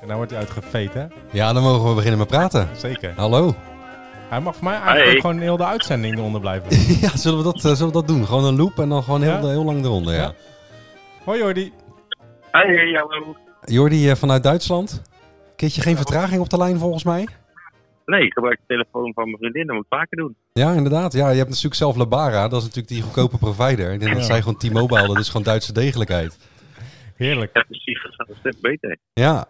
En nou wordt hij uitgeveet, hè? Ja, dan mogen we beginnen met praten. Zeker. Hallo. Hij mag voor mij eigenlijk Hey. ook gewoon heel de uitzending eronder blijven. Ja, zullen we dat, eh, zullen we dat doen? Gewoon een loop en dan gewoon heel, Ja? heel lang eronder. Ja. Ja. Hoi Jordi. Hey, hallo. Jordi eh, vanuit Duitsland. Keertje geen vertraging op de lijn volgens mij? Nee, ik gebruik de telefoon van mijn vriendin. Dat moet ik vaker doen. Ja, inderdaad. Ja, je hebt natuurlijk zelf Labara. Dat is natuurlijk die goedkope provider. Ik denk dat Ja. zij gewoon T-Mobile, dat is gewoon Duitse degelijkheid. Heerlijk. Ja, precies. Dat gaat een stuk beter. Ja.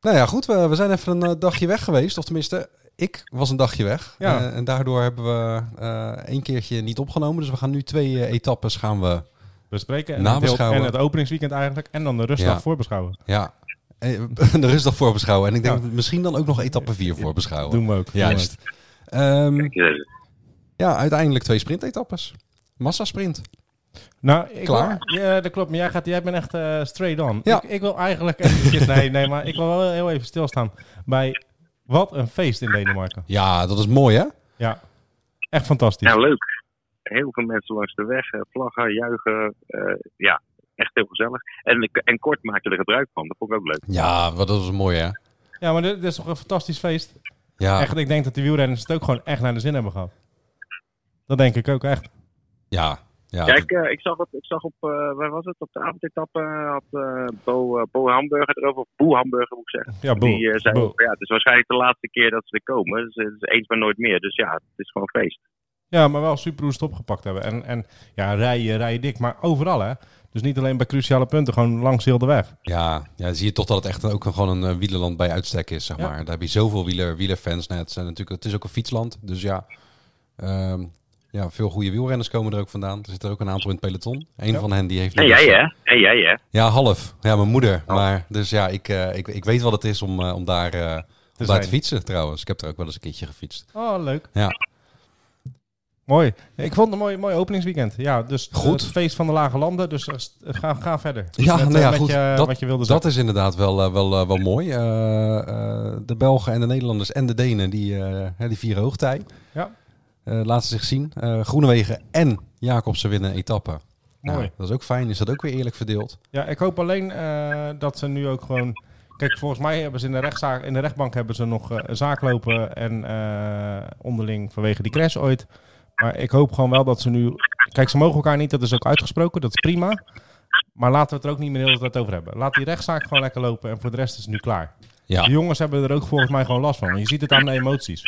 Nou ja, goed. We, we zijn even een eh, dagje weg geweest. Of tenminste, ik was een dagje weg. Ja. Eh, en daardoor hebben we eh één keertje niet opgenomen. Dus we gaan nu twee eh, etappes gaan we... Bespreken en, het, Nabeschouwen. heel- en het openingsweekend eigenlijk. En dan de rustdag Ja. voorbeschouwen. Ja, eh, de rustdag voorbeschouwen. En ik denk Ja. dat we misschien dan ook nog etappe vier voorbeschouwen. Doen we ook. Oh, Juist. Ehm, Kijk eens even. ja, uiteindelijk twee sprintetappes. Massasprint. Nou, ik Klaar? wil- ja, dat klopt. Maar jij, gaat, jij bent echt eh, straight on. Ja. Ik, ik wil eigenlijk eventjes... nee, nee, maar ik wil wel heel even stilstaan bij... Wat een feest in Denemarken. Ja, dat is mooi hè? Ja. Echt fantastisch. Ja, leuk. Heel veel mensen langs de weg. eh, Vlaggen, juichen. eh, ja, echt heel gezellig. En, eh, en kort maak je er gebruik van. Dat vond ik ook leuk. Ja, wat- dat is mooi hè? Ja, maar dit, dit is toch een fantastisch feest. Ja. Echt, ik denk dat de wielrenners het ook gewoon echt naar de zin hebben gehad. Dat denk ik ook echt. Ja, ja. Kijk, eh, ik, zag op, ik zag op, eh, waar was het? Op de avondetappe eh, had eh, Bo, eh, Bo Hamburger erover. Of Boe Hamburger moet ik zeggen. Ja, boel. Die eh, zei, Boe. ook, ja, het is waarschijnlijk de laatste keer dat ze er komen. Dus het is eens maar nooit meer. Dus ja, het is gewoon feest. Ja, maar wel super hoe ze het opgepakt hebben. En, en ja, rijden, rijden dik, maar overal hè. Dus niet alleen bij cruciale punten, gewoon langs heel de weg. Ja, ja, dan zie je toch dat het echt ook een- gewoon een eh, wielerland bij uitstek is, zeg Ja. maar. Daar heb je zoveel wieler, wielerfans net. Het, zijn natuurlijk, het is ook een fietsland, dus ja. ehm, ja, veel goede wielrenners komen er ook vandaan. Er zitten er ook een aantal in het peloton. Een Ja. van hen die heeft... dus, eh, En jij hè? En jij hè? Ja, half. Ja, mijn moeder. Oh. Maar, dus ja, ik, eh, ik, ik weet wat het is om, eh, om daar, eh, om daar zijn. te fietsen, trouwens. Ik heb er ook wel eens een keertje gefietst. Oh, leuk. Ja. Mooi. Ik vond het een mooi, mooi openingsweekend. Ja, dus Goed. het feest van de lage landen. Dus eh, st- ga, ga verder. Ja, Met, nou eh, ja, met goed. je- Dat- wat je wilde Dat zeggen. is inderdaad wel, eh, wel, eh, wel mooi. Eh, eh, de Belgen en de Nederlanders en de Denen, die, eh, hè, die vieren hoogtij. Ja. Eh, laten ze zich zien. Eh, Groenewegen en Jacobsen winnen etappen. Nou, Mooi. dat is ook fijn. Is dat ook weer eerlijk verdeeld? Ja, ik hoop alleen eh, dat ze nu ook gewoon. Kijk, volgens mij hebben ze in de, rechtszaak, in de rechtbank hebben ze nog eh, een zaak lopen. En eh, onderling vanwege die crash ooit. Maar ik hoop gewoon wel dat ze nu. Kijk, ze mogen elkaar niet, dat is ook uitgesproken, dat is prima. Maar laten we het er ook niet meer heel de hele tijd over hebben. Laat die rechtszaak gewoon lekker lopen en voor de rest is het nu klaar. Ja. De jongens hebben er ook volgens mij gewoon last van. want Je ziet het aan de emoties.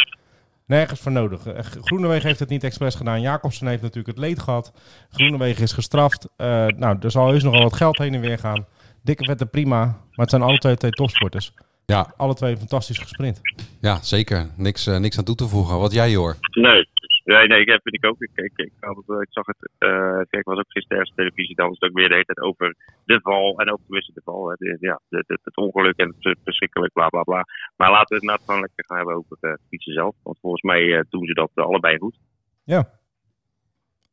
Nergens voor nodig. Eh, Groenewegen heeft het niet expres gedaan. Jacobsen heeft natuurlijk het leed gehad. Groenewegen is gestraft. Eh, nou, er zal heus nogal wat geld heen en weer gaan. Dikke vette prima. Maar het zijn alle twee, twee topsporters. Ja, Alle twee fantastisch gesprint. ja zeker. Niks, eh, niks aan toe te voegen. Wat jij hoor. Nee, dus, nee, nee ik heb vind ik ook. Ik, ik, ik, had het, eh, ik zag het, eh, ik was ook gisteren ergens op televisie, dan was het ook weer de hele tijd over de val en over tenminste de val. Hè, de, ja, de, de- het ongeluk en het verschrikkelijk, bla bla bla. Maar laten we het nou gewoon lekker gaan hebben over het fietsen zelf. Want volgens mij eh, doen ze dat eh, allebei goed.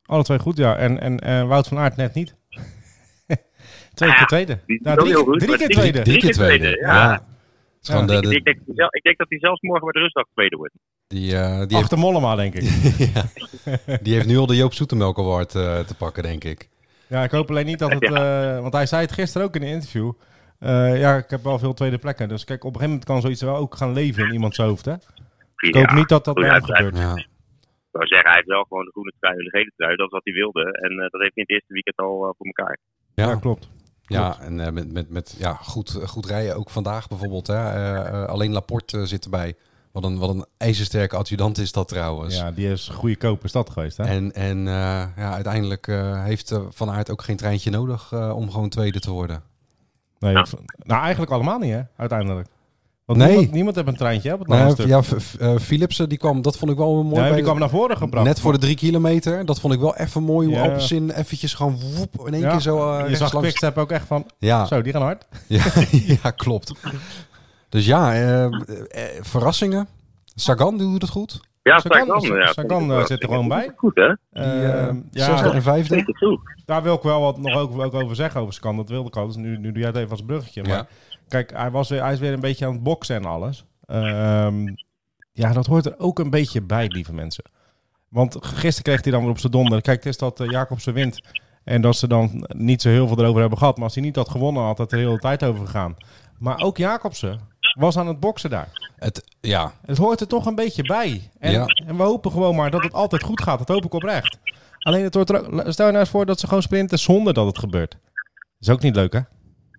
Alle twee goed, ja. En, en eh, Wout van Aert net niet. twee keer Ah, tweede. die- Nou, dat is drie, heel goed, drie maar keer die- tweede. Drie keer tweede. ja. Het is gewoon de- Ik, de- ik, denk, ja, ik denk dat hij zelfs morgen bij de rustdag tweede wordt. die, eh, die, heeft, Achter Mollema, denk ik. ja, die heeft nu al de Joop Zoetemelk Award eh, te pakken, denk ik. Ja, ik hoop alleen niet dat het... eh, want hij zei het gisteren ook in een interview. Eh, ja, ik heb wel veel tweede plekken. Dus kijk, op een gegeven moment kan zoiets wel ook gaan leven in iemands hoofd, hè? Ik hoop Ja, niet dat dat goed, bij hij- hem gebeurt. Ja. Ik zou zeggen, hij heeft wel gewoon de groene trui en de gele trui. Dat is wat hij wilde. En eh, dat heeft hij in het eerste weekend al eh, voor elkaar. Ja, klopt. Ja, en eh, met, met, met ja, goed, eh, goed rijden ook vandaag bijvoorbeeld. Hè. Eh, eh, alleen Laporte eh, zit erbij. Wat een, wat een ijzersterke adjudant is dat trouwens. Ja, die is een goede koop is dat geweest, hè? En, en eh, ja, uiteindelijk eh, heeft eh, Van Aert ook geen treintje Nou, nodig eh, om gewoon tweede te worden. Nee, v- nou, eigenlijk allemaal niet, hè? Uiteindelijk. Want Nee. niemand, niemand heeft een treintje hè, op het Nou, lange stuk. ja, F- F- eh, Philipsen, die kwam, dat vond ik wel een mooi. Ja, bij- die kwam naar voren gebracht. Net voor de drie kilometer. Dat vond ik wel even mooi. Hoe Ja. Alpecin eventjes gewoon woep, in één Ja, keer zo eh, je rechts zag langs- Quickstep ook echt van, Ja, zo, die gaan hard. ja, ja, klopt. Dus ja, eh, eh, verrassingen. Sagan die doet het goed. Ja, Sagan- Sagan. Sagan, ja, vind ik wel. eh, zit er gewoon bij. Goed, hè? Die, Eh, eh, zesde ja, en vijfde. Zeker zo. daar wil ik wel wat nog ook, ook over zeggen over Scan. Dat wilde ik al. Dus nu, nu doe jij het even als bruggetje. Maar Ja. kijk, hij, was weer, hij is weer een beetje aan het boksen en alles. Ehm, ja, dat hoort er ook een beetje bij, lieve mensen. Want gisteren kreeg hij dan weer op zijn donder. Kijk, het is dat eh, Jacobsen wint. En dat ze dan niet zo heel veel erover hebben gehad. Maar als hij niet had gewonnen, had het er de hele tijd over gegaan. Maar ook Jacobsen was aan het boksen daar. Het, ja, Het hoort er toch een beetje bij. En, Ja. en we hopen gewoon maar dat het altijd goed gaat. Dat hoop ik oprecht. Alleen het hoort er ook- stel je nou eens voor dat ze gewoon sprinten zonder dat het gebeurt. Is ook niet leuk, hè?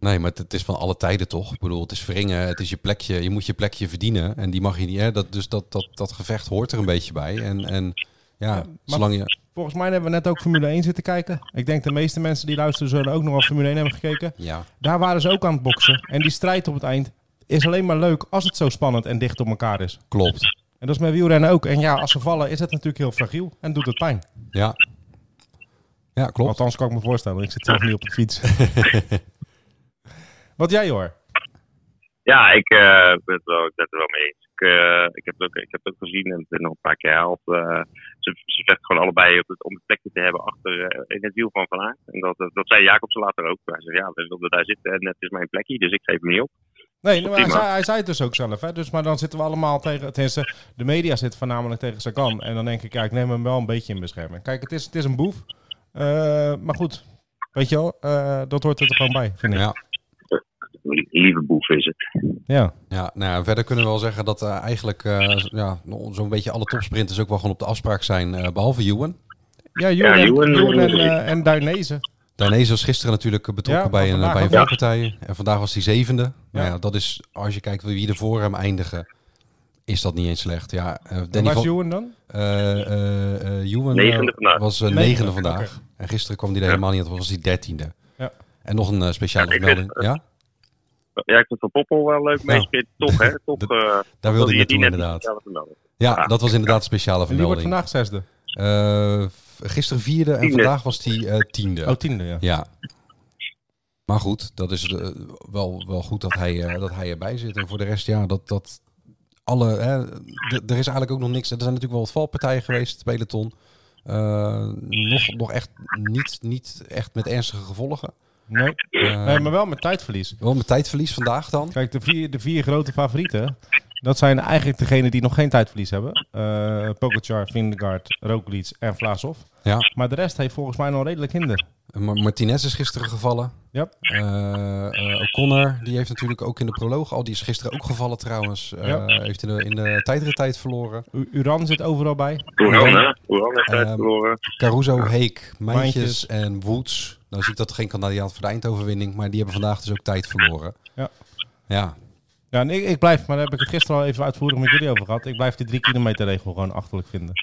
nee, maar het, het is van alle tijden toch? Ik bedoel, het is wringen, het is je plekje. Je moet je plekje verdienen. En die mag je niet. Hè? Dat, dus dat, dat, dat gevecht hoort er een beetje bij. En, en ja, zolang je. Volgens mij hebben we net ook Formule 1 zitten kijken. Ik denk de meeste mensen die luisteren zullen ook nog wel Formule 1 hebben gekeken. Ja, Daar waren ze ook aan het boksen. En die strijd op het eind is alleen maar leuk als het zo spannend en dicht op elkaar is. klopt. En dat is met wielrennen ook. En ja, als ze vallen is het natuurlijk heel fragiel en doet het pijn. Ja, ja klopt. Althans kan ik me voorstellen, want ik zit zelf niet op de fiets. Wat jij hoor. Ja, ik eh, ben, het wel, ik ben het er wel mee eens. Ik, eh, ik, heb het ook, ik heb het ook gezien en het nog een paar keer herhaald. eh, ze, ze vechten gewoon allebei op het, om het plekje te hebben achter eh, in het wiel van Van Aert. En dat, dat zei Jacobsen later ook. Hij zei, ja, we wilden daar zitten en het is mijn plekje, dus ik geef hem niet op. Nee, maar hij, Prima. zei, hij zei het dus ook zelf. Hè? Dus, maar dan zitten we allemaal tegen... Tenminste, de media zit voornamelijk tegen Sagan. En dan denk ik, ja, ik neem hem wel een beetje in bescherming. Kijk, het is, het is een boef. Eh, maar goed, weet je wel, eh, dat hoort er gewoon bij, vind ik. Ja. Ja. Lieve boef is het. Ja, nou ja, verder kunnen we wel zeggen dat eh, eigenlijk eh, z- ja, no- zo'n beetje alle topsprinters ook wel gewoon op de afspraak zijn, eh, behalve Ewan. Ja, Joen Ja, en, Joen- Joen en, eh, en Dainese. Dainese was gisteren natuurlijk eh, betrokken Ja, maar bij een, vandaag bij een ook. valpartij. En vandaag was hij zevende. Nou Ja. ja, dat is, als je kijkt wie er voor hem eindigen, is dat niet eens slecht. Ja, eh, En Danny waar van, is Joen dan? eh, eh, eh, Ewan, eh, Negende vandaag. was eh, Negende, negende vandaag. En gisteren kwam hij er Ja. helemaal niet aan, toe, was hij dertiende. Ja. En nog een eh, speciale Ja, ik vermelding. Ja, Ja, ik vond Van Poppel wel leuk Ja. meespit. Toch, hè? Toch, Dat- eh, daar wilde wilde je ik naartoe die net inderdaad. niet Ah. zelf melden. Ja, dat was inderdaad een speciale En die wordt vermelding. vandaag zesde. Eh, v- gisteren vierde en Tiende. vandaag was die eh, tiende. Oh, tiende, ja. Ja. Maar goed, dat is eh, wel, wel goed dat hij, eh, dat hij erbij zit. En voor de rest, ja, dat, dat alle. Hè, d- er is eigenlijk ook nog niks. Er zijn natuurlijk wel wat valpartijen geweest, het peloton. Eh, nog, nog echt niet, niet echt met ernstige gevolgen. Nee. Eh, Nee, maar wel met tijdverlies. Wel met tijdverlies vandaag dan. Kijk, de vier, de vier grote favorieten, dat zijn eigenlijk degenen die nog geen tijdverlies hebben. Eh Pogacar, Vindegaard, Roglic en Vlaasov. Ja. Maar de rest heeft volgens mij nog redelijk hinder. Ma- Martinez is gisteren gevallen. Ja. Eh, eh, O'Connor, die heeft natuurlijk ook in de proloog al. Die is gisteren ook gevallen trouwens. Eh, Ja. Heeft in de, in de tijdrit verloren. U- Uran zit overal bij. Hoeran, hè? Hoeran heeft Ehm, tijd verloren. Caruso, Heek, Mijntjes Mijntjes. en Woods. Nou zie ik dat er geen kandidaat voor de eindoverwinning, maar die hebben vandaag dus ook tijd verloren. Ja. Ja, Ja, en ik, ik blijf, maar daar heb ik het gisteren al even uitvoerig met jullie over gehad. Ik blijf die drie kilometer regel gewoon achterlijk vinden.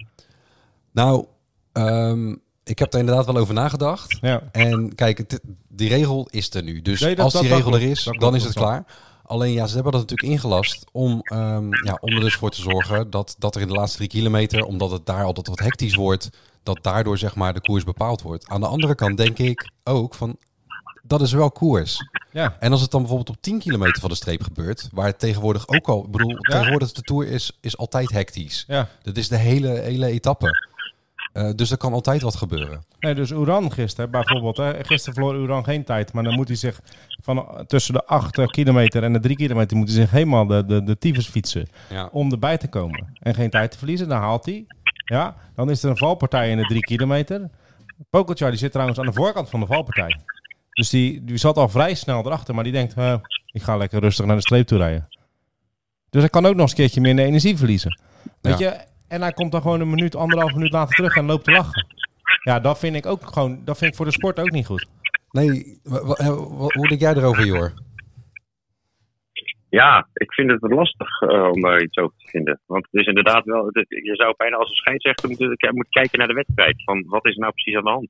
nou, ehm, ik heb er inderdaad wel over nagedacht. Ja, En kijk, het- die regel is er nu. Dus Nee, dat- als die dat- dat regel er klopt. is, Dat klopt, dan is dat het klopt. klaar. Alleen ja, ze hebben dat natuurlijk ingelast om, ehm, ja, om er dus voor te zorgen dat, dat er in de laatste drie kilometer, omdat het daar altijd wat hectisch wordt, dat daardoor zeg maar de koers bepaald wordt. Aan de andere kant denk ik ook van, dat is wel koers. ja. En als het dan bijvoorbeeld op 10 kilometer van de streep gebeurt, waar het tegenwoordig ook al, ik bedoel, tegenwoordig de Tour is, is altijd hectisch. ja. Dat is de hele, hele etappe. Eh, dus er kan altijd wat gebeuren. Nee, dus Uran gisteren bijvoorbeeld. Hè. Gisteren verloor Uran geen tijd. Maar dan moet hij zich van tussen de 8 kilometer en de 3 kilometer... moet hij zich helemaal de, de, de tyfus fietsen. Ja. om erbij te komen. En geen tijd te verliezen. Dan haalt hij. Ja, dan is er een valpartij in de drie kilometer. Pokelchar die zit trouwens aan de voorkant van de valpartij. Dus die, die zat al vrij snel erachter. Maar die denkt, eh, ik ga lekker rustig naar de streep toe rijden. Dus hij kan ook nog eens een keertje minder energie verliezen. Weet je, en hij komt dan gewoon een minuut, anderhalf minuut later terug en loopt te lachen. Ja, dat vind ik ook gewoon, dat vind ik voor de sport ook niet goed. Nee, wa- wa- eh, wa- hoe denk jij erover, Jor? Ja, ik vind het lastig eh, om daar iets over te vinden. Want het is inderdaad wel, het- je zou bijna als een scheidsrechter moeten k- moeten kijken naar de wedstrijd. Van wat is er nou precies aan de hand?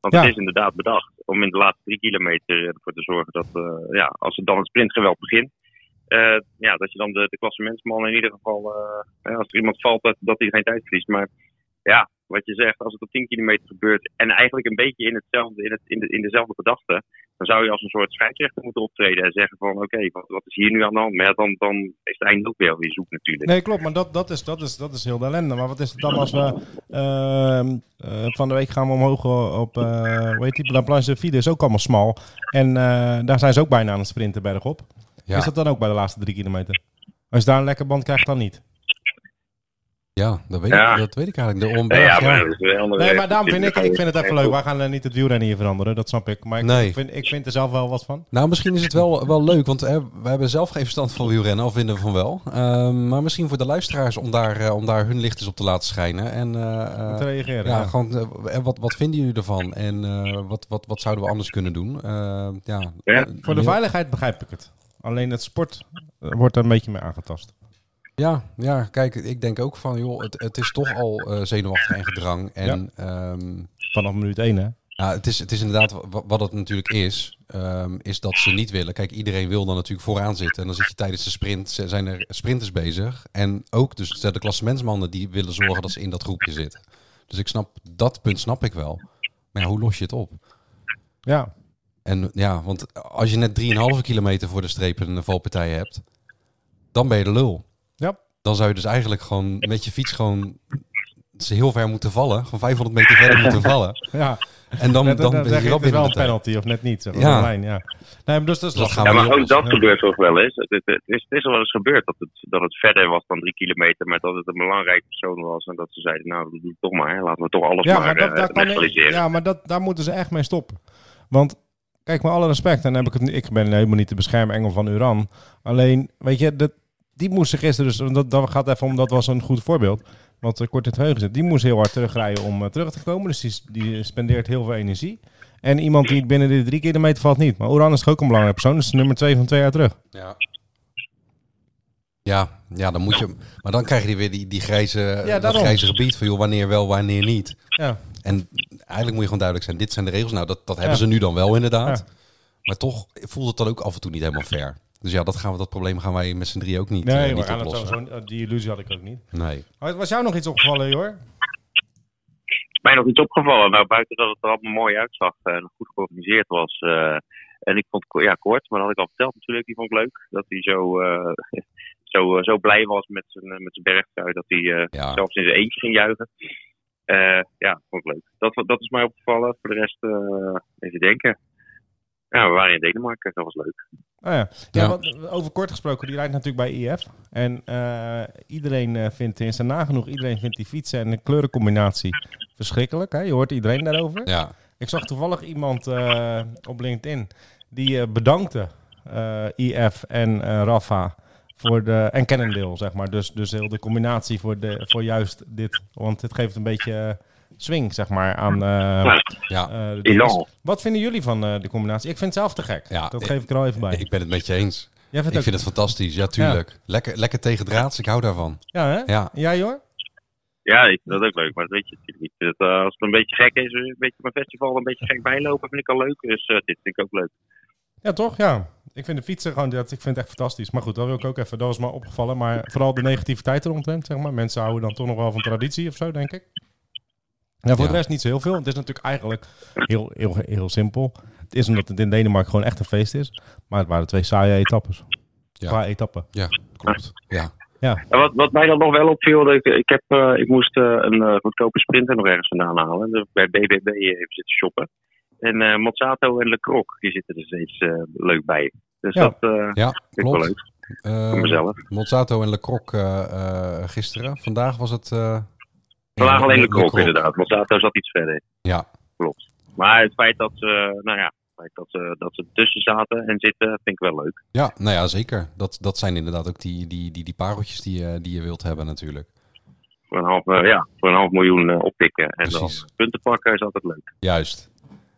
Want Ja. het is inderdaad bedacht om in de laatste drie kilometer ervoor te zorgen dat, eh, ja, als het dan het sprintgeweld begint, eh, ja, dat je dan de, de klassementsman in ieder geval, eh, als er iemand valt, dat, dat hij geen tijd verliest. Maar ja, wat je zegt, als het op 10 kilometer gebeurt en eigenlijk een beetje in, hetzelfde, in, het, in, de, in dezelfde gedachte, dan zou je als een soort scheidsrechter moeten optreden en zeggen van oké, wat, wat is hier nu aan de hand? Maar ja, dan, dan is het einde ook weer weer zoek natuurlijk. Nee, klopt, maar dat, dat, is, dat, is, dat is heel de ellende. Maar wat is het dan als we... ehm, eh, van de week gaan we omhoog op... eh hoe heet die? La Planche de Vide is ook allemaal smal. En eh, daar zijn ze ook bijna aan het sprinten bergop. Ja. Is dat dan ook bij de laatste drie kilometer? Als je daar een lekker band krijgt, dan niet. Ja, dat weet, Ja. Ik, dat weet ik eigenlijk. De Nee, Omberg, ja, ja, maar dat is een andere- Nee, maar daarom vind ik, ik vind het Ja, even leuk. Wij gaan eh, niet het wielrennen hier veranderen, dat snap ik. Maar ik, Nee. vind, ik vind er zelf wel wat van. Nou, misschien is het wel, wel leuk, want eh, we hebben zelf geen verstand van wielrennen, al vinden we van wel. Ehm, maar misschien voor de luisteraars om daar, eh, om daar hun licht eens op te laten schijnen. En eh, Om eh, te reageren. ja, ja. gewoon, eh, en wat, wat vinden jullie ervan? En eh, wat, wat, wat zouden we anders kunnen doen? Eh, ja, Ja, Voor de veiligheid begrijp ik het. Alleen het sport eh, wordt er een beetje mee aangetast. Ja, ja, kijk, ik denk ook van, joh, het, het is toch al eh, zenuwachtig en gedrang. En ehm, Vanaf minuut 1, hè? Nou, het, is, het is inderdaad wa- wa- wat het natuurlijk is, ehm, is dat ze niet willen. Kijk, iedereen wil dan natuurlijk vooraan zitten. En dan zit je tijdens de sprint, z- zijn er sprinters bezig. En ook dus de klassementsmannen die willen zorgen dat ze in dat groepje zitten. Dus ik snap, dat punt snap ik wel. Maar ja, hoe los je het op? Ja. En ja, want als je net 3,5 kilometer voor de streep een valpartij hebt, dan ben je de lul. Ja. Dan zou je dus eigenlijk gewoon met je fiets gewoon ze heel ver moeten vallen. Gewoon 500 meter verder moeten vallen. ja. En dan, Dan, dan, ben je zeg je, rap het is binnen wel de een tijd. penalty of net niet. Zeg maar, Ja. de lijn, ja. Nee, maar dus dat Dat is lastig. gaan we Ja, maar niet gewoon dat oplossen. gebeurt toch wel eens. Het, het, het is, het is al wel eens gebeurd dat het, dat het verder was dan drie kilometer, maar dat het een belangrijk persoon was en dat ze zeiden, nou, dat doe ik toch maar, hè. laten we toch alles Ja, maar, maar, eh, dat, daar, kan ik- neutraliseren. ja, maar dat, daar moeten ze echt mee stoppen. Want, kijk, met alle respect, en dan heb ik, het, ik ben helemaal niet de beschermengel van Uran. Alleen, weet je, dat, die moesten gisteren, dus want dat, dat gaat even om, dat was een goed voorbeeld. Want eh, kort in het geheugen zit, die moest heel hard terugrijden om eh, terug te komen. Dus die, die spendeert heel veel energie. En iemand die het binnen de drie kilometer valt niet. Maar Uran is toch ook een belangrijk persoon, dus nummer twee van twee jaar terug. Ja. Ja, ja, dan moet je. Maar dan krijg je weer die, die grijze, dat daarom. grijze gebied van joh, wanneer wel, wanneer niet. Ja, En eigenlijk moet je gewoon duidelijk zijn: dit zijn de regels. Nou, dat, dat hebben Ja. ze nu dan wel inderdaad. Ja. Maar toch voelt het dan ook af en toe niet helemaal fair. Dus ja, dat, gaan we, dat probleem gaan wij met z'n drie ook niet, eh, nee, maar niet aan het oplossen. zo- die illusie had ik ook niet. Nee. Maar was jou nog iets opgevallen, hoor? Is mij nog iets opgevallen, nou, buiten dat het er allemaal mooi uitzag eh, en goed georganiseerd was. eh, en ik vond, Ko- ja, Kort, maar dat had ik al verteld natuurlijk, die vond ik leuk. Dat hij zo, eh, zo, eh, zo blij was met zijn, eh, met zijn bergtrui, dat hij eh, Ja. zelfs in zijn eentje ging juichen. Eh, ja, vond ik leuk. Dat, dat is mij opgevallen. Voor de rest, eh even denken. Ja, we waren in Denemarken, dat was leuk. Ah ja. Ja, Ja. want over kort gesproken, die rijdt natuurlijk bij IF. En eh, iedereen eh, vindt, is er nagenoeg, iedereen vindt die fietsen en de kleurencombinatie verschrikkelijk. Hè? Je hoort iedereen daarover. Ja. Ik zag toevallig iemand eh, op LinkedIn die eh, bedankte eh, IF en eh, Rafa voor de, en Cannondale, zeg maar. Dus, dus heel de combinatie voor, de, voor juist dit. Want dit geeft een beetje eh, swing, zeg maar, aan... eh, Ja. ja. eh, de Elan. dinges. Wat vinden jullie van eh, de combinatie? Ik vind het zelf te gek. Ja, dat ik- geef ik er al even bij. Ik ben het met je eens. Jij vindt Ik ook vind het fantastisch. Ja, tuurlijk. Lekker, lekker tegen draads. Ik hou daarvan. Ja, hè? Ja. Jij hoor? Ja, ik vind dat ook leuk, maar dat weet je natuurlijk niet. Dat, eh, als het een beetje gek is, een beetje op een festival, een beetje gek bijlopen, vind ik al leuk. Dus eh, dit vind ik ook leuk. Ja, toch? Ja. Ik vind de fietsen gewoon, dat, ik vind het echt fantastisch. Maar goed, dat wil ik ook even, dat was me opgevallen. Maar vooral de negativiteit eromtrent, zeg maar. Mensen houden dan toch nog wel van traditie of zo, denk ik. Ja, voor Ja. de rest niet zo heel veel. want Het is natuurlijk eigenlijk heel, heel, heel simpel. Het is omdat het in Denemarken gewoon echt een feest is. Maar het waren twee saaie etappes. Ja. Qua etappen. Ja, klopt. Ja. En wat, wat mij dan nog wel opviel, dat ik, ik, heb, eh, ik moest eh, een eh, goedkope sprinter nog ergens vandaan halen. Dus bij BBB even zitten shoppen. En eh Mozzato en Le Croc, die zitten er steeds eh, leuk bij. Dus Ja. dat eh Ja, vind ik wel klopt. leuk Eh, voor mezelf. Monsanto en Le Croc eh, eh, gisteren. Vandaag was het. eh, We waren ja, alleen Le Croc inderdaad, Mozzato zat iets verder. Ja. Klopt. Maar het feit dat ze, eh, nou ja, het feit dat ze, dat ze tussen zaten en zitten, vind ik wel leuk. Ja, nou ja, zeker. Dat, dat zijn inderdaad ook die, die, die, die pareltjes die, je- die je wilt hebben natuurlijk. voor een half, eh, ja, voor een half miljoen eh, oppikken. En dan Precies. punten pakken is altijd leuk. Juist.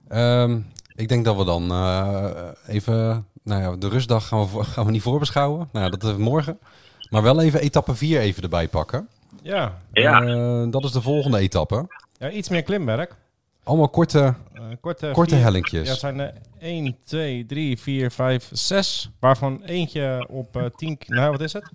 Ehm, ik denk dat we dan eh, even... Nou ja, de rustdag gaan we, voor- gaan we niet voorbeschouwen. Nou, ja, dat is morgen. Maar wel even etappe 4 even erbij pakken. Ja. Ja, Eh, dat is de volgende etappe. ja, iets meer klimwerk. Allemaal korte, Eh, korte, Korte vier- hellinkjes. Ja, het zijn eh, er 1, 2, 3, 4, 5, 6. Waarvan eentje op eh, 10... ki- nou, wat is het?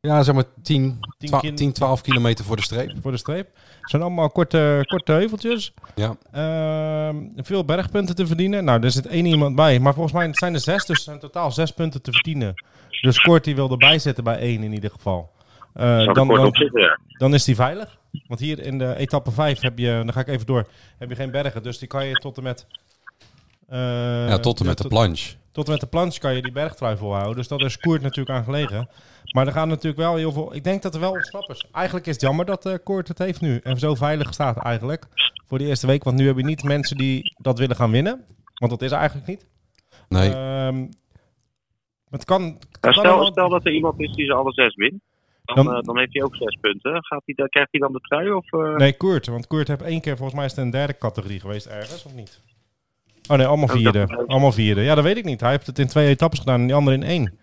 Ja, zeg maar 10, Tien twa- kin- 10, 12 kilometer voor de streep. Voor de streep. Het zijn allemaal korte, korte heuveltjes. Ja. Ehm, veel bergpunten te verdienen. Nou, er zit één iemand bij. Maar volgens mij zijn er zes, dus er zijn totaal zes punten te verdienen. Dus Kort die wil erbij zitten bij één in ieder geval. Eh, Zou dan, er kort op dan, zitten, ja. dan is die veilig. Want hier in de etappe 5 heb je, dan ga ik even door, heb je geen bergen. Dus die kan je tot en met... eh, ja, tot en met de planche. tot en met de planche kan je die bergtrui volhouden. Dus dat is Koert natuurlijk aan gelegen. Maar er gaan natuurlijk wel heel veel... Ik denk dat er wel ontsnappers... Eigenlijk is het jammer dat eh Koert het heeft nu. En zo veilig staat eigenlijk voor de eerste week. Want nu heb je niet mensen die dat willen gaan winnen. Want dat is er eigenlijk niet. Nee, Ehm, het kan... het Ja, kan stel, wel- stel dat er iemand is die ze alle zes wint. Dan, Dan- eh, dan heeft hij ook zes punten. Gaat hij, dan- krijgt hij dan de trui? Of, eh, Nee, Koert. Want Koert heeft één keer volgens mij is het een derde categorie geweest ergens, of niet? Oh nee, allemaal dat vierde. is- Allemaal vierde. Ja, dat weet ik niet. Hij heeft het in twee etappes gedaan en die andere in één.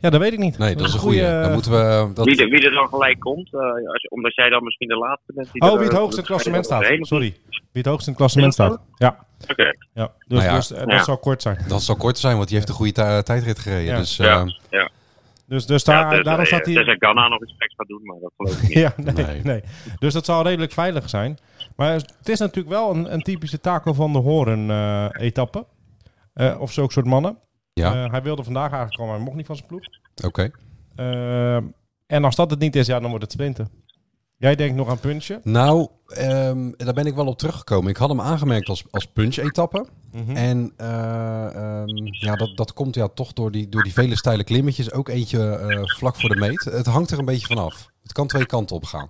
Ja, dat weet ik niet. nee, dat is een goede. goeie- Dan moeten we. Dat, wie, er, wie er dan gelijk komt? eh, als, omdat jij dan misschien de laatste bent. Die Oh, er- wie het hoogst in het klassement staat. Oké, Sorry. Wie het hoogst in het klassement staat. Ja. Oké. ja. Dus, Nou ja. dus, eh, dat Ja. zal kort zijn. dat zal kort zijn, want die heeft een goede ti- tijdrit gereden. Ja. Dus eh, Ja, ja. Dus, dus Ja, daar, dus, daarom eh, staat hij... dus hij kan aan nog iets geks gaan doen, maar dat geloof ik niet. Ja, nee, nee. Nee. Dus dat zal redelijk veilig zijn. Maar het is natuurlijk wel een, een typische Taco van de Horen-etappe. eh, of zulke soort mannen. ja, Eh, hij wilde vandaag eigenlijk al, maar hij mocht niet van zijn ploeg. oké. Ehm, en als dat het niet is, ja, dan wordt het sprinten. Jij denkt nog aan puntje. Nou, ehm, daar ben ik wel op teruggekomen. Ik had hem aangemerkt als, als punch-etappe. Mhm. En eh, ehm, ja, dat, dat komt ja toch door die, door die vele steile klimmetjes. Ook eentje eh, vlak voor de meet. Het hangt er een beetje vanaf. Het kan twee kanten op gaan.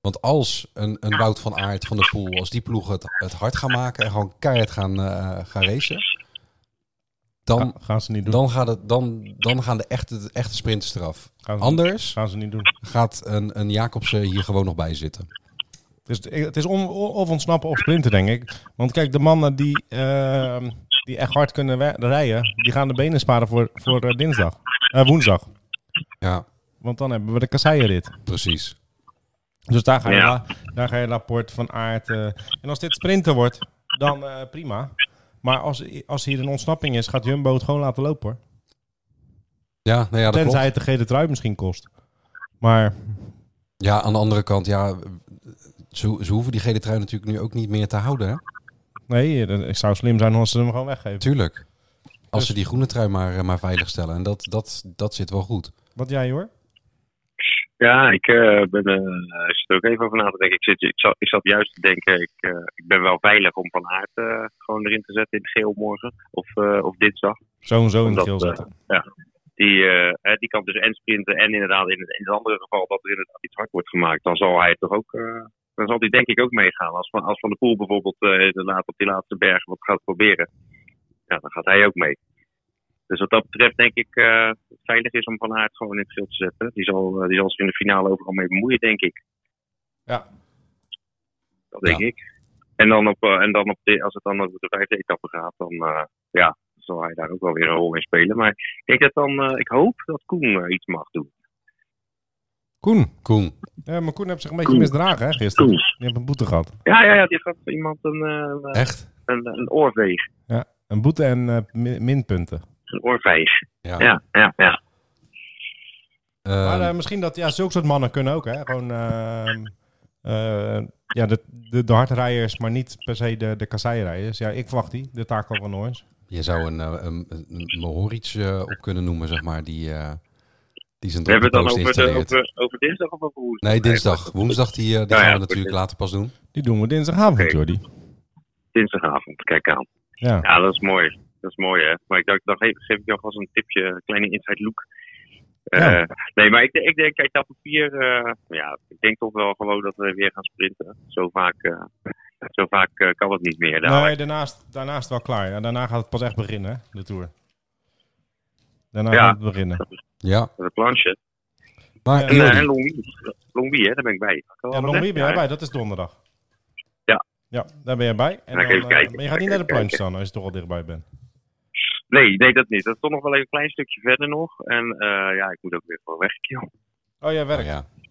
Want als een, een Wout van Aert van de Poel, als die ploegen het, het hard gaan maken en gewoon keihard gaan, eh, gaan racen, dan, Ga- gaan ze niet doen. dan, gaat het, dan, dan gaan de echte, de echte sprinters eraf. Gaan ze, Anders gaan ze niet doen. gaat een, een Jacobsen hier gewoon nog bij zitten. Dus het- het is on- of ontsnappen of sprinten, denk ik. Want kijk, de mannen die, ehm, die echt hard kunnen we- rijden, die gaan de benen sparen voor, voor eh, dinsdag. Eh, woensdag. Ja, Want dan hebben we de kasseienrit. precies. Dus daar ga je, Ja. la- daar ga je rapport van aard. eh, en als dit sprinten wordt, dan eh, prima. Maar als, als hier een ontsnapping is, gaat Jumbo het gewoon laten lopen hoor. Ja, nou ja, dat Tenzij klopt. het de gele trui misschien kost. Maar Ja, aan de andere kant, ja, ze, ze hoeven die gele trui natuurlijk nu ook niet meer te houden. Hè? nee, eh, het zou slim zijn als ze hem gewoon weggeven. Tuurlijk. Als Dus- ze die groene trui maar, eh, maar veilig stellen. En dat, dat, dat zit wel goed. Wat jij hoor? Ja, ik eh, ben, eh, ik zit er ook even over na te denken. Ik, zit, ik, zat, ik zat juist te denken, ik, eh, ik ben wel veilig om Van Aert eh, gewoon erin te zetten in het geel morgen. Of, eh, of dinsdag. Zo en zo in het Omdat, geel eh, zetten. Die, eh, hè, die kan dus en sprinten en inderdaad in het, in het andere geval dat er inderdaad iets hard wordt gemaakt. Dan zal hij toch ook, eh, dan zal hij denk ik ook meegaan. Als Van, als van de Poel bijvoorbeeld eh, inderdaad op die laatste berg wat gaat proberen, ja, dan gaat hij ook mee. Dus wat dat betreft denk ik eh, dat het veilig is om Van Aert gewoon in het veld te zetten. Die zal, eh, die zal zich in de finale overal mee bemoeien denk ik. Ja. Dat denk Ja. ik. En dan, op, eh, en dan op de, als het dan over de vijfde etappe gaat, dan eh, ja, zal hij daar ook wel weer een rol in spelen. Maar ik, denk dat dan, eh, ik hoop dat Koen eh, iets mag doen. Koen. Koen, Ja, maar Koen heeft zich een beetje Koen. misdragen hè, gisteren. Die heeft een boete gehad. Ja, ja, ja, die gaf iemand een, eh, echt? een, een oorveeg. Een boete en eh, mi- minpunten. Een oorveeg. Ja. Ja, ja, ja. Ehm, maar eh, misschien dat, ja, zulke soort mannen kunnen ook hè. Gewoon, ehm, eh, ja, de, de, de hardrijders, maar niet per se de, de kasseienrijders. Ja, ik verwacht die, de Taco van Hoorns. je zou een, eh, een, een, een Mohoric eh, op kunnen noemen, zeg maar, die, eh, die zijn We hebben het droppenpost dan over, de, installeert. over, over dinsdag of over woensdag? Nee, dinsdag. Woensdag die, eh, die Ja, gaan ja, we goed. natuurlijk later pas doen. Die doen we dinsdagavond, Oké. Jordi. Dinsdagavond, kijk aan. Ja. Ja, dat is mooi. Dat is mooi, hè. Maar ik dacht, dan geef, geef ik jou vast een tipje, een kleine inside look. Eh, Ja. Nee, maar ik, ik denk, kijk, dat papier, eh, ja, ik denk toch wel gewoon dat we weer gaan sprinten. Zo vaak, eh, zo vaak eh, kan het niet meer. dadelijk. Nee, daarnaast, daarnaast wel klaar. Ja, daarna gaat het pas echt beginnen, hè, de Tour. Daarna Ja. gaat het beginnen. Ja, De planche. maar Ja. En, Jordi, eh, en Longwy. Longwy, hè, daar ben ik bij. Ja, dan ben jij bij, dat is donderdag. Ja. Ja, daar ben jij bij. En Dan ga ik dan, even eh, kijken. maar je gaat niet Ga naar ik de even planche dan, als je toch al dichtbij bent. Nee, nee, dat niet. Dat is toch nog wel even een klein stukje verder nog. En eh, ja, ik moet ook weer voor weg, joh. Oh, jij werkt.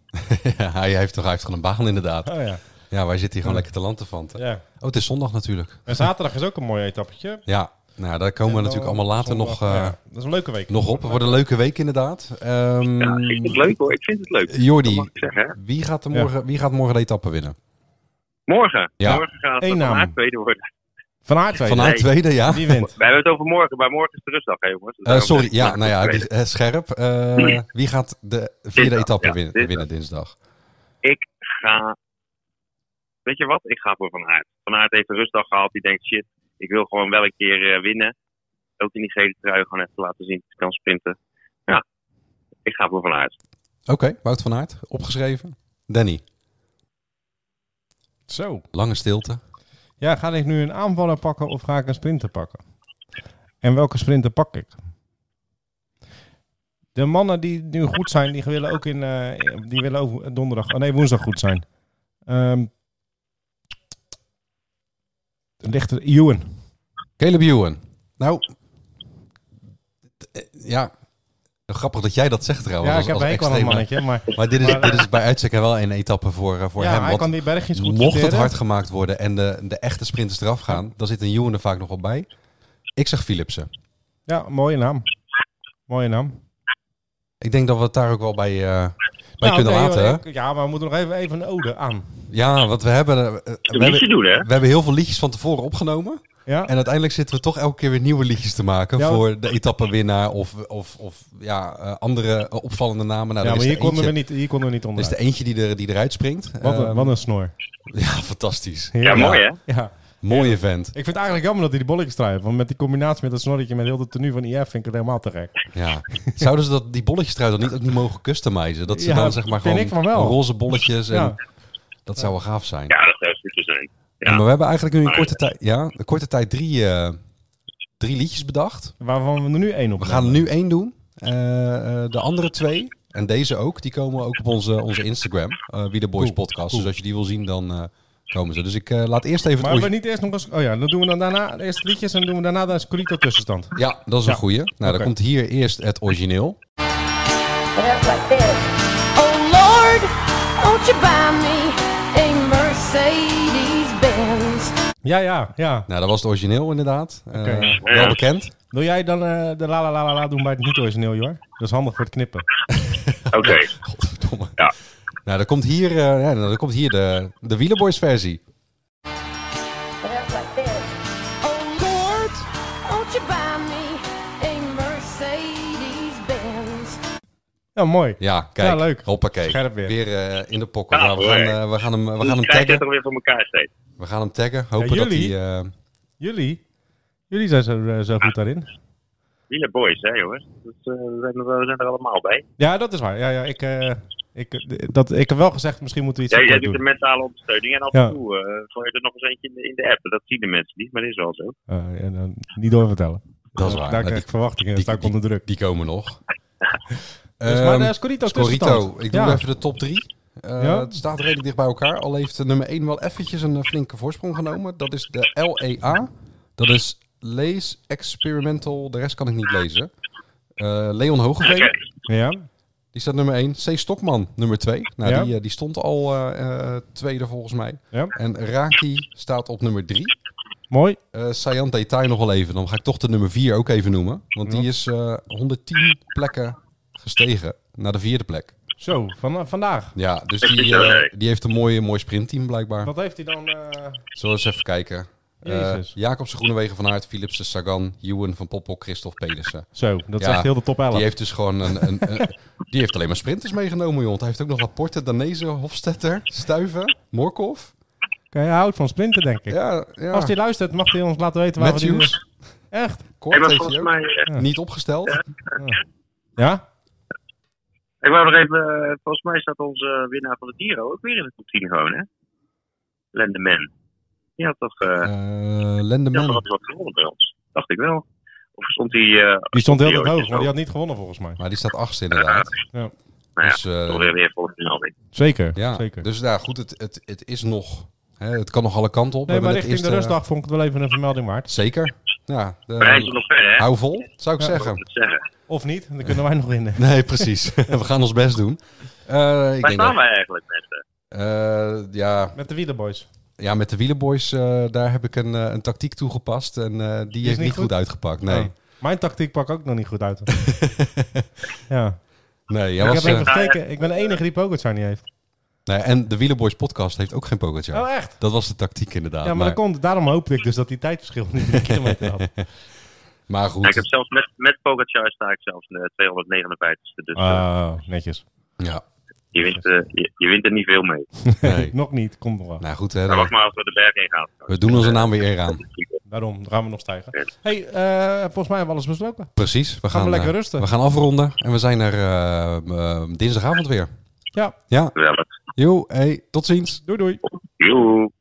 ja. hij, heeft toch, hij heeft gewoon een baan inderdaad. Oh ja. Ja, wij zitten hier gewoon lekker te landen van. Ja. Oh, het is zondag natuurlijk. En zaterdag is ook een mooi etappetje. Ja, nou, ja, daar komen we En dan natuurlijk allemaal later zondag, nog, eh, ja, dat is een leuke week. nog op. Het wordt een leuke week inderdaad. Ehm, Ja, ik vind het leuk hoor. Ik vind het leuk. Dat Jordi, mag ik zeggen. Hè? wie gaat, er Ja. morgen, wie gaat morgen de etappe winnen? Morgen. Ja. Morgen gaat het Eén naam. vandaag tweede worden. Van Aardwijk. Vanuit Nee. tweede, ja. Die wint. Wij hebben het over morgen, maar morgen is de rustdag, hè, jongens. Dus Eh, daarom sorry, zeg ik ja, vandaag nou ja, de het tweede. is, eh, scherp. Eh, wie gaat de vierde Dinsdag, etappe ja, winnen, dinsdag. winnen dinsdag? Ik ga. Weet je wat? Ik ga voor Van Aert. Van Aert heeft een rustdag gehad. Die denkt: shit, ik wil gewoon wel een keer eh, winnen. Ook in die gele trui gewoon even laten zien. dat Ik kan sprinten. Ja, ik ga voor Van Aert. Oké, Wout van Aert, opgeschreven. Danny, Zo. lange stilte. Ja, ga ik nu een aanvaller pakken of ga ik een sprinter pakken? En welke sprinter pak ik? De mannen die nu goed zijn, die willen ook in, eh, die willen ook donderdag, oh nee, woensdag goed zijn. Ehm er ligt er Ewan. Caleb Ewan. Nou, t- eh, ja, grappig dat jij dat zegt trouwens. Ja, ik als- heb als eigenlijk wel een extreme. mannetje, maar Maar dit is, Maar- dit is bij uitstek wel een etappe voor, eh, voor ja, hem. hij want kan die bergjes goed mocht het sorteren. hard gemaakt worden en de, de echte sprinters eraf gaan, dan zit een Ewan er vaak nog wel bij. Ik zeg Philipsen. Ja, mooie naam. Mooie naam. Ik denk dat we het daar ook wel bij, eh, bij Nou, kunnen nee, laten. maar hè? ik- Ja, maar we moeten nog even, even een ode aan. Ja, want we hebben, eh, eh, Een we, hebben, liedje doen, hè? we hebben heel veel liedjes van tevoren opgenomen. Ja? En uiteindelijk zitten we toch elke keer weer nieuwe liedjes te maken Ja. voor de etappenwinnaar of, of, of ja, eh, andere eh, opvallende namen. Nou, ja, er maar is hier er eentje, konden, we niet, hier konden we niet er is onderuit. er eentje die, er, die eruit springt. Wat een, Ehm, wat een snor. Ja, fantastisch. Ja, mooi, hè? Ja. Mooie vent. Ik vind het eigenlijk jammer dat hij die bolletjes draait. Want met die combinatie met dat snorretje met heel de tenue van IF vind ik het helemaal te gek. Ja. Zouden ze dat, die bolletjes trouwens dan niet, ook niet mogen customizen? Dat ze Ja, dan zeg maar vind gewoon ik van wel. roze bolletjes en Ja. dat zou wel gaaf zijn. Ja, dat zou super zijn. Ja. Maar we hebben eigenlijk nu in Maar- korte tijd, ja, in korte tijd drie, eh, drie liedjes bedacht. Waarvan we er nu één op We gaan er nu één doen. Eh, eh, de andere twee, en deze ook, die komen ook op onze, onze Instagram. eh Wie de Boys Cool, podcast. cool. Dus als je die wil zien, dan eh, komen ze. Dus ik eh, laat eerst even Maar het hebben we origi- niet eerst nog eens... Oh ja, dan doen we dan daarna eerst liedjes en doen we daarna de Scorito tussenstand. Ja, dat is een Ja. goeie. Nou, dan Oké. komt hier eerst het origineel. And that's like this. Oh Lord, won't you buy me a Mercedes Benz? Ja, ja, ja. Nou, dat was het origineel inderdaad. Eh, Oké. wel bekend. Wil jij dan eh, de la la la la la doen bij het niet origineel, joh? Dat is handig voor het knippen. Oké. Godverdomme. Ja. Nou, dan komt hier, eh, ja, dan komt hier de, de Wielerboys versie. And that's like this. Oh Lord, won't you buy me a Mercedes Benz? Ja, mooi. Ja, kijk. Ja, leuk. Hoppakee. Scherp weer. eh, in de pokkel. Ja, Nou, we, gaan, hoor. eh, we gaan hem, we gaan Hoe hem krijg je taggen. het toch weer voor elkaar steeds? We gaan hem taggen. Hopen dat hij... jullie? eh, Jullie? Jullie zijn zo, eh, zo goed daarin. Wieler Boys, hè, jongens? Dus, eh, we, zijn er, we zijn er allemaal bij. Ja, dat is waar. Ja, ja, ik, eh, ik, eh, dat, ik heb wel gezegd, misschien moeten we iets Jij, jij apart doet de doen. mentale ondersteuning en af Ja. en toe eh, gooi je er nog eens eentje in de, in de app. Dat zien de mensen niet, maar dat is wel zo. Eh, en dan niet doorvertellen. Dat is waar. Daar Maar krijg ik verwachtingen en die- sta ik die- onder druk. Die komen nog. Dus, maar Ehm, de Scorito Scorito, tussenstand. ik doe Ja. even de top 3. Ja. Het staat redelijk dicht bij elkaar. Al heeft eh, nummer 1 wel eventjes een eh, flinke voorsprong genomen. Dat is de LEA. Dat is Lees Experimental. De rest kan ik niet lezen. Eh, Leon Hogeveen, Ja. die staat nummer 1. C. Stokman, nummer 2. Nou, Ja. die, eh, die stond al eh, eh, tweede volgens mij. Ja. En Raki staat op nummer 3. Mooi. Eh Sayan Detail nog wel even. Dan ga ik toch de nummer 4 ook even noemen. Want die is eh, 110 plekken gestegen naar de vierde plek. Zo, van, eh, vandaag. Ja, dus die, eh, die heeft een mooie, mooi sprintteam blijkbaar. Wat heeft hij dan? eh, Zullen we eens even kijken. Eh, Jezus. Jacobsen, Groenewegen, Van Aert, Philipsen, Sagan, Ewan, Van Poppel, Christophe Pedersen. Zo, dat is Ja, echt heel de top 11. Die heeft dus gewoon een... een, een- die heeft alleen maar sprinters meegenomen, joh. Want hij heeft ook nog Laporte, Danezen, Hofstetter, Stuiven, Morkov. Oké, Hij houdt van sprinten, denk ik. Ja, ja. Als hij luistert, mag hij ons laten weten waar we die... dus? Matthews, Echt? Hey, Kort maar heeft volgens hij ook. mij, eh, Niet opgesteld. Ja? ik wou nog even, eh, volgens mij staat onze winnaar van de Giro ook weer in de top 10 gewoon, hè? Lendeman. Die had toch, eh Eh die had toch Lendeman. altijd wat gewonnen bij ons? Dacht ik wel. Of stond hij... eh, Die stond heel die erg hoog, is maar ook. die had niet gewonnen volgens mij. Maar die staat achtste inderdaad. Ja. Nou ja, Dus, eh, alweer weer voor de melding. Zeker, ja. zeker. dus nou goed, het, het, het is nog... Hè, het kan nog alle kanten op. We nee, maar hebben net richting de eerst, eh, rustdag vond ik het wel even een vermelding waard. Zeker. Ja, de- Maar hij is er nog ver, hè? hou vol, zou ik Ja. Ik moet zeggen. het zeggen. Of niet, dan kunnen wij nog winnen. Nee, precies. we gaan ons best doen. Eh, ik Waar denk staan dat, wij eigenlijk, mensen? Eh, ja, Met de wielerboys. ja, met de Wielenboys, eh, daar heb ik een, eh, een tactiek toegepast. En eh, die heeft niet niet goed, goed? Oh. uitgepakt. Nee, Ja. Mijn tactiek pak ook nog niet goed uit. ja. nee jij ik was, heb even eh, gekeken. Ik ben de enige die Pogacar niet heeft. nee, en de Wielenboys podcast heeft ook geen Pogacar. Oh, echt? Dat was de tactiek inderdaad. Ja, maar, maar, dat komt, daarom hoopte ik dus dat die tijdverschil niet drie kilometer had. maar Ja, ik heb goed, zelfs met, met Pogacar sta ik zelfs in de 259ste. Dus Ah. eh, Oh, netjes. ja, je, wint, eh, je, je wint er niet veel mee. nee. nog niet, komt nog wel. nou goed, hè, Maar dan- wacht maar als we de berg heen gaan. we doen onze naam weer eer aan. Daarom, dan gaan we nog stijgen. hey, eh, volgens mij hebben we alles besproken. Precies, we gaan, we lekker eh, rusten. We gaan afronden en we zijn er eh, eh, dinsdagavond weer. Ja, Ja, Wel, joe, hey, tot ziens. doei doei. joe.